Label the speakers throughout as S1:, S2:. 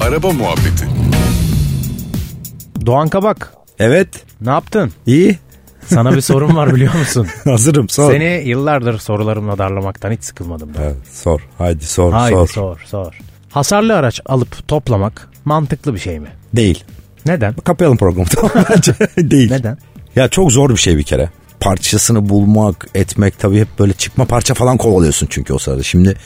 S1: Araba muhabbeti.
S2: Doğan Kabak
S3: Evet.
S2: ne yaptın?
S3: iyi.
S2: Sana bir sorun var biliyor musun?
S3: Hazırım sor.
S2: Seni yıllardır sorularımla darlamaktan hiç sıkılmadım ben.
S3: Ha, sor. Haydi sor
S2: Haydi
S3: sor.
S2: sor. sor Hasarlı araç alıp toplamak mantıklı bir şey mi?
S3: Değil.
S2: Neden?
S3: Kapayalım programı. Tamam, Bence değil.
S2: Neden?
S3: Ya çok zor bir şey bir kere. Parçasını bulmak, etmek tabii hep böyle çıkma parça falan kovalıyorsun çünkü o sırada. Şimdi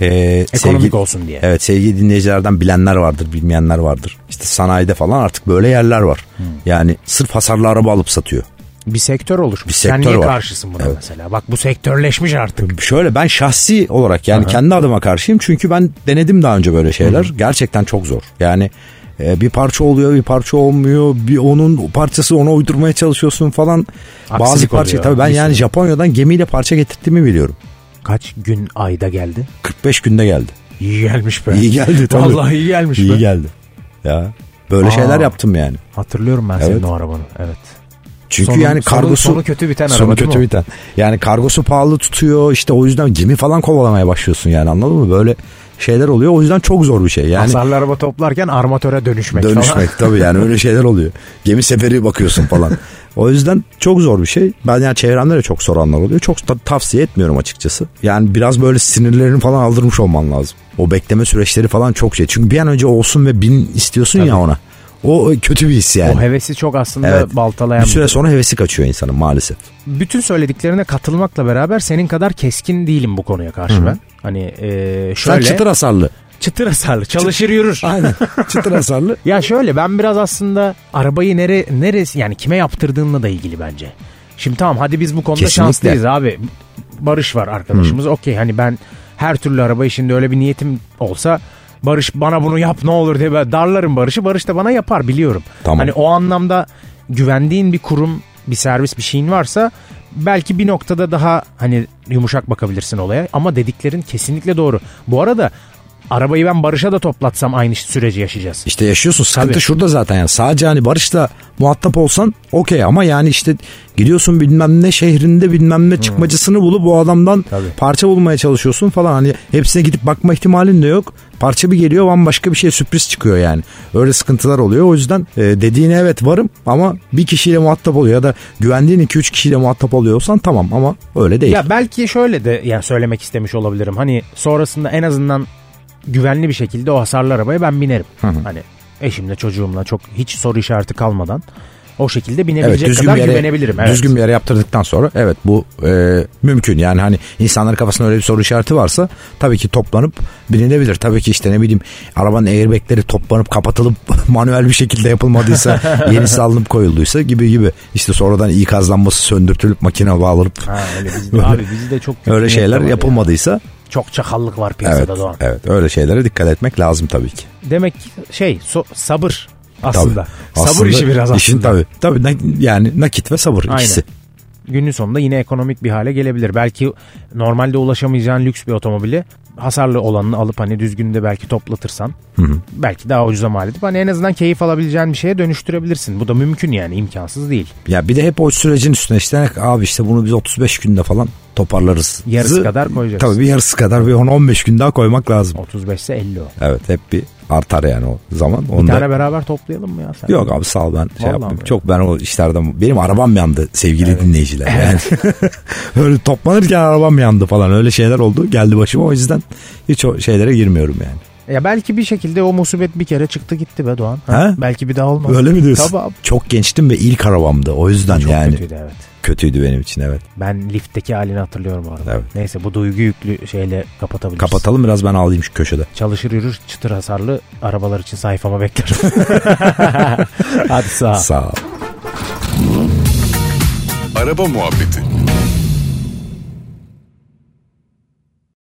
S3: e,
S2: Ekonomik olsun diye.
S3: Evet sevgili dinleyicilerden bilenler vardır, bilmeyenler vardır. İşte sanayide falan artık böyle yerler var.
S2: Hmm.
S3: Yani sırf hasarlı araba alıp satıyor.
S2: Bir sektör oluşmuş.
S3: Bir
S2: Sen
S3: sektör
S2: niye
S3: var.
S2: karşısın buna mesela? Bak bu sektörleşmiş artık.
S3: Şöyle ben şahsi olarak yani kendi adıma karşıyım çünkü ben denedim daha önce böyle şeyler. Gerçekten çok zor. Yani e, bir parça oluyor, bir parça olmuyor. Bir onun parçası ona uydurmaya çalışıyorsun falan.
S2: Aksilik
S3: Bazı parça
S2: oluyor.
S3: tabii ben
S2: Bir
S3: yani Japonya'dan gemiyle parça getirdiğimi biliyorum.
S2: Kaç gün ayda geldi?
S3: 45 günde geldi.
S2: İyi gelmiş be.
S3: İyi geldi tabii.
S2: Vallahi iyi gelmiş be.
S3: İyi geldi. Ya böyle
S2: Aa.
S3: şeyler yaptım yani.
S2: Hatırlıyorum ben
S3: Evet.
S2: senin o arabanı. Evet.
S3: Çünkü
S2: Sonu-
S3: yani
S2: sonu-
S3: kargosu
S2: sonu kötü biten araba,
S3: Sonu
S2: değil mi
S3: kötü
S2: o?
S3: biten. Yani kargosu pahalı tutuyor. işte o yüzden gemi falan kovalamaya başlıyorsun yani. Anladın mı? Böyle şeyler oluyor. O yüzden çok zor bir şey. Yani
S2: Hasarlı araba toplarken armatöre dönüşmek. falan.
S3: Dönüşmek tabii yani öyle şeyler oluyor. Gemi seferi bakıyorsun falan. O yüzden çok zor bir şey. Ben yani çevremde de çok soranlar oluyor. Çok da tavsiye etmiyorum açıkçası. Yani biraz böyle sinirlerini falan aldırmış olman lazım. O bekleme süreçleri falan çok şey. Çünkü bir an önce olsun ve bin istiyorsun ya ona. O kötü bir his yani.
S2: O hevesi çok aslında
S3: Evet.
S2: baltalayan
S3: bir
S2: bir
S3: süre sonra hevesi kaçıyor insanın maalesef.
S2: bütün söylediklerine katılmakla beraber senin kadar keskin değilim bu konuya karşı ben. Hani e,
S3: Sen
S2: şöyle
S3: çıtır hasarlı.
S2: çıtır hasarlı çalışır yürür.
S3: Aynen. çıtır hasarlı.
S2: Ya şöyle ben biraz aslında arabayı nere neresi yani kime yaptırdığınla da ilgili bence. Şimdi tamam hadi biz bu konuda
S3: Kesinlikle.
S2: şanslıyız abi. Barış var arkadaşımız. Okey hani ben her türlü arabayı şimdi öyle bir niyetim olsa Barış bana bunu yap ne olur diye ben darlarım Barış'ı. Barış da bana yapar biliyorum.
S3: Tamam.
S2: Hani o anlamda güvendiğin bir kurum, bir servis, bir şeyin varsa belki bir noktada daha hani yumuşak bakabilirsin olaya ama dediklerin kesinlikle doğru. Bu arada arabayı ben Barış'a da toplatsam aynı süreci yaşayacağız.
S3: İşte yaşıyorsun sıkıntı
S2: Tabii.
S3: şurada zaten yani sadece hani Barış'la muhatap olsan okey ama yani işte gidiyorsun bilmem ne şehrinde bilmem ne çıkmacısını bulup o adamdan
S2: Tabii.
S3: parça bulmaya çalışıyorsun falan hani hepsine gidip bakma ihtimalin de yok. Parça bir geliyor bambaşka bir şey sürpriz çıkıyor yani. Öyle sıkıntılar oluyor o yüzden e, dediğine evet varım ama bir kişiyle muhatap oluyor ya da güvendiğin 2-3 kişiyle muhatap oluyorsan tamam ama öyle değil.
S2: Ya belki şöyle de yani söylemek istemiş olabilirim. Hani sonrasında en azından güvenli bir şekilde o hasarlı arabaya ben binerim. Hani eşimle çocuğumla çok hiç soru işareti kalmadan o şekilde
S3: Evet,
S2: binebilecek
S3: düzgün
S2: kadar
S3: bir yere,
S2: güvenebilirim. Evet.
S3: Düzgün bir yere yaptırdıktan sonra evet bu e, mümkün. Yani hani insanların kafasında öyle bir soru işareti varsa tabii ki toplanıp bilinebilir. Tabii ki işte ne bileyim arabanın airbagleri toplanıp kapatılıp manuel bir şekilde yapılmadıysa yenisi alınıp koyulduysa gibi gibi. İşte sonradan ikazlanması söndürtülüp makine bağlanıp
S2: Ha, öyle bizde, abi bizde çok kötü
S3: öyle
S2: niyet
S3: şeyler
S2: de var ya.
S3: yapılmadıysa
S2: Çok çakallık var piyasada
S3: evet,
S2: Doğan.
S3: evet öyle şeylere dikkat etmek lazım tabii ki.
S2: Demek ki şey so- sabır aslında.
S3: Tabii.
S2: Sabır işi
S3: Aslında
S2: biraz aslında.
S3: işin tabii. Tabii na- yani nakit ve sabır
S2: Aynen.
S3: ikisi.
S2: günün sonunda yine ekonomik bir hale gelebilir. Belki normalde ulaşamayacağın lüks bir otomobili hasarlı olanını alıp hani düzgünde belki toplatırsan belki daha ucuza mal edip hani en azından keyif alabileceğin bir şeye dönüştürebilirsin. Bu da mümkün yani imkansız değil.
S3: Ya bir de hep o sürecin üstüne işte abi işte bunu biz 35 günde falan toparlarız.
S2: Yarısı
S3: Zı-
S2: kadar koyacağız.
S3: Tabii bir yarısı kadar bir 10-15 gün daha koymak lazım.
S2: 35 ise 50 o.
S3: Evet hep bir artar yani o zaman.
S2: Bir
S3: Onda...
S2: tane beraber toplayalım mı ya sen?
S3: Yok abi sağ ol ben şey
S2: Vallahi
S3: yaptım.
S2: mi?
S3: Çok ben o işlerden benim arabam yandı sevgili dinleyiciler. Yani öyle toplanırken arabam yandı falan öyle şeyler oldu geldi başıma o yüzden hiç o şeylere girmiyorum yani.
S2: Ya belki bir şekilde o musibet bir kere çıktı gitti be Doğan.
S3: He?
S2: Belki bir daha olmaz.
S3: Öyle mi diyorsun?
S2: Tabii abi.
S3: Çok gençtim ve ilk arabamdı o yüzden
S2: Çok
S3: yani
S2: kötüydü evet.
S3: kötüydü benim için evet.
S2: Ben liftteki halini hatırlıyorum bu arada.
S3: Evet.
S2: Neyse bu duygu yüklü şeyle kapatabiliriz.
S3: Kapatalım biraz ben ağlayayım şu köşede.
S2: Çalışır yürür çıtır hasarlı arabalar için sayfama beklerim. Hadi sağ ol.
S3: Sağ ol.
S1: Araba muhabbeti.